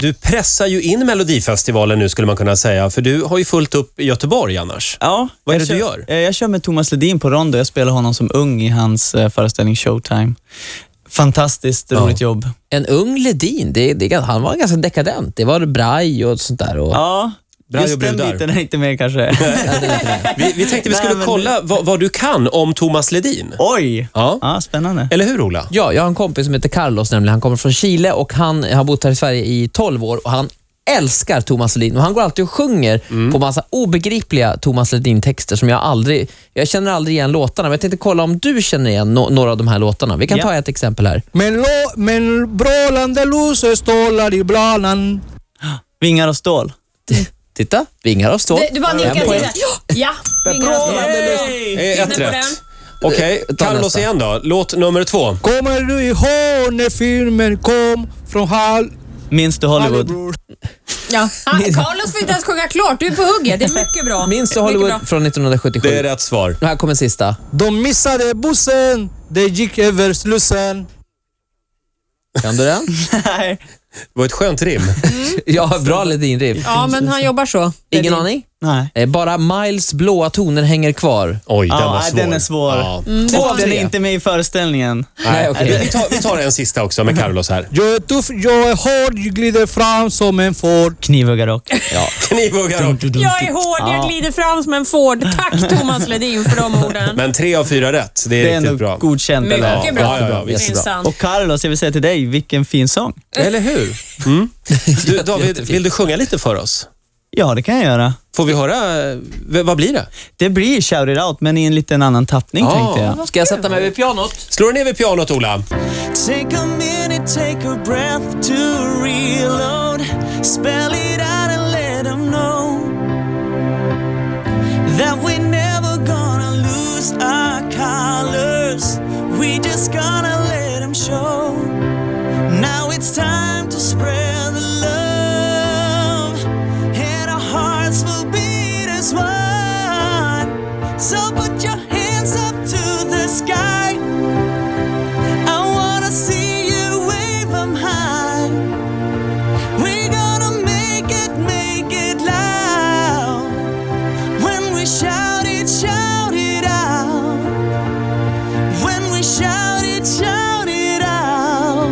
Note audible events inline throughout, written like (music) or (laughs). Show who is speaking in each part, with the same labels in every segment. Speaker 1: Du pressar ju in Melodifestivalen nu skulle man kunna säga, för du har ju fullt upp i Göteborg annars.
Speaker 2: Ja,
Speaker 1: Vad är
Speaker 2: jag
Speaker 1: det du
Speaker 2: kör-
Speaker 1: gör?
Speaker 2: eh, Jag kör med Thomas Ledin på Rondo. Jag spelar honom som ung i hans eh, föreställning Showtime. Fantastiskt roligt jobb.
Speaker 3: En ung Ledin, det, det, han var ganska dekadent. Det var braj och sånt där. Och,
Speaker 2: Ja,
Speaker 1: Bra
Speaker 2: just den
Speaker 1: brudar.
Speaker 2: biten är inte
Speaker 1: (laughs)
Speaker 2: med kanske.
Speaker 1: Vi, vi tänkte vi
Speaker 2: Nej,
Speaker 1: skulle
Speaker 2: men-
Speaker 1: kolla vad, vad du kan om Thomas Ledin.
Speaker 2: Oj!
Speaker 1: Ja.
Speaker 2: Ja, spännande.
Speaker 1: Eller hur Ola?
Speaker 3: Ja, jag har en kompis som heter Carlos nämligen. Han kommer från Chile och han har bott här i Sverige i 12 år och han älskar Thomas Ledin och han går alltid och sjunger på massa obegripliga Thomas Ledin-texter som jag aldrig... Jag känner aldrig igen låtarna, men jag tänkte kolla om du känner igen no- några av de här låtarna. Vi kan
Speaker 2: Ja.
Speaker 3: ta ett exempel här.
Speaker 4: Men, lo, men brålande luser stålar i bladan.
Speaker 2: Vingar och stål.
Speaker 3: Titta, Vingar av stål.
Speaker 5: Du, du bara
Speaker 3: En
Speaker 5: nickar
Speaker 3: poäng.
Speaker 5: till. Ja, ja. Vingar och stål.
Speaker 1: Eh, Ett
Speaker 5: Inne på
Speaker 1: rätt. Okej,
Speaker 3: Ta
Speaker 1: Carlos
Speaker 3: nästa.
Speaker 1: igen då. Låt nummer två.
Speaker 4: Kommer du ihåg när filmen kom från Hall
Speaker 2: Minns du Hollywood?
Speaker 4: Hollywood?
Speaker 5: Ja. Ah, Carlos får inte ens sjunga klart. Du är på hugget. Det är mycket
Speaker 3: (laughs)
Speaker 5: bra.
Speaker 3: Minns du
Speaker 5: Mycket
Speaker 3: Hollywood
Speaker 5: bra.
Speaker 3: från 1977?
Speaker 1: Det är rätt svar.
Speaker 3: Nu här kommer sista.
Speaker 4: De missade bussen, de gick över Slussen.
Speaker 3: Kan du den?
Speaker 2: (laughs) Nej.
Speaker 1: Det var ett skönt rim.
Speaker 3: ja, bra Ledin-rim.
Speaker 5: Ja, men han jobbar så.
Speaker 3: Ingen aning?
Speaker 2: Nej.
Speaker 3: Eh, Bara Miles blåa toner hänger kvar.
Speaker 1: Oj, den
Speaker 2: Ja,
Speaker 1: var
Speaker 2: nej,
Speaker 1: svår.
Speaker 2: den är svår. Mm.
Speaker 1: Ja.
Speaker 3: Två av
Speaker 2: Den
Speaker 3: tre.
Speaker 2: är inte med i föreställningen.
Speaker 3: Nej, okej.
Speaker 1: Vi, vi, tar, vi tar en sista också med Carlos
Speaker 2: (laughs)
Speaker 1: här.
Speaker 4: Jag är tuff, jag är hård, jag glider fram som en Ford.
Speaker 2: Knivhuggarrock. (laughs)
Speaker 1: Knivhuggare och...
Speaker 5: Jag är hård, jag glider fram som en Ford. Tack Thomas Ledin för de orden.
Speaker 1: Men tre av fyra rätt. Det är,
Speaker 2: Det är
Speaker 1: riktigt bra.
Speaker 2: ändå godkänt. eller?
Speaker 5: Mycket bra.
Speaker 1: Ja, ja, ja, visst.
Speaker 5: Minsann.
Speaker 2: Och Carlos, jag vill säga till dig, vilken fin sång.
Speaker 3: Eller hur?
Speaker 1: Du, David, vill du sjunga lite för oss?
Speaker 2: Ja, det kan jag göra.
Speaker 1: Får vi höra? eh, v- Vad blir det?
Speaker 2: Det blir Shout It Out, men i en liten annan tappning
Speaker 1: Ja.
Speaker 2: tänkte jag.
Speaker 3: Ska jag sätta mig vid pianot?
Speaker 1: Slå dig ner vid pianot, Ola.
Speaker 2: Take a minute, take a breath to reload. Spell it out and let them know that we're never gonna lose our colors. We just gonna let them show. Now it's time to spread the love, and our hearts will beat as one. So put your hands up to the sky. I wanna see you wave 'em high. We're gonna make it, make it loud. When we shout it, shout it out. When we shout it, shout it out.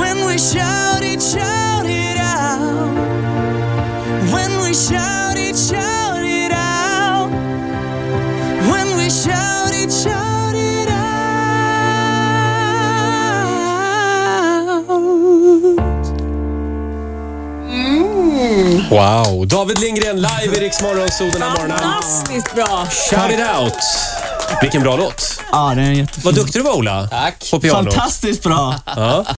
Speaker 2: When we shout it, shout it out. When we shout it, shout it out. When we shout it, shout it out.
Speaker 1: Wow. David Lindgren live i Rix Morgonzoo den här morgonen.
Speaker 5: Fantastiskt bra.
Speaker 1: Shout it out. Vilken bra låt.
Speaker 2: Ja, den är jättefin.
Speaker 1: Vad duktig du var, Ola.
Speaker 3: Tack.
Speaker 1: På pianot.
Speaker 2: Fantastiskt bra.
Speaker 1: Ja.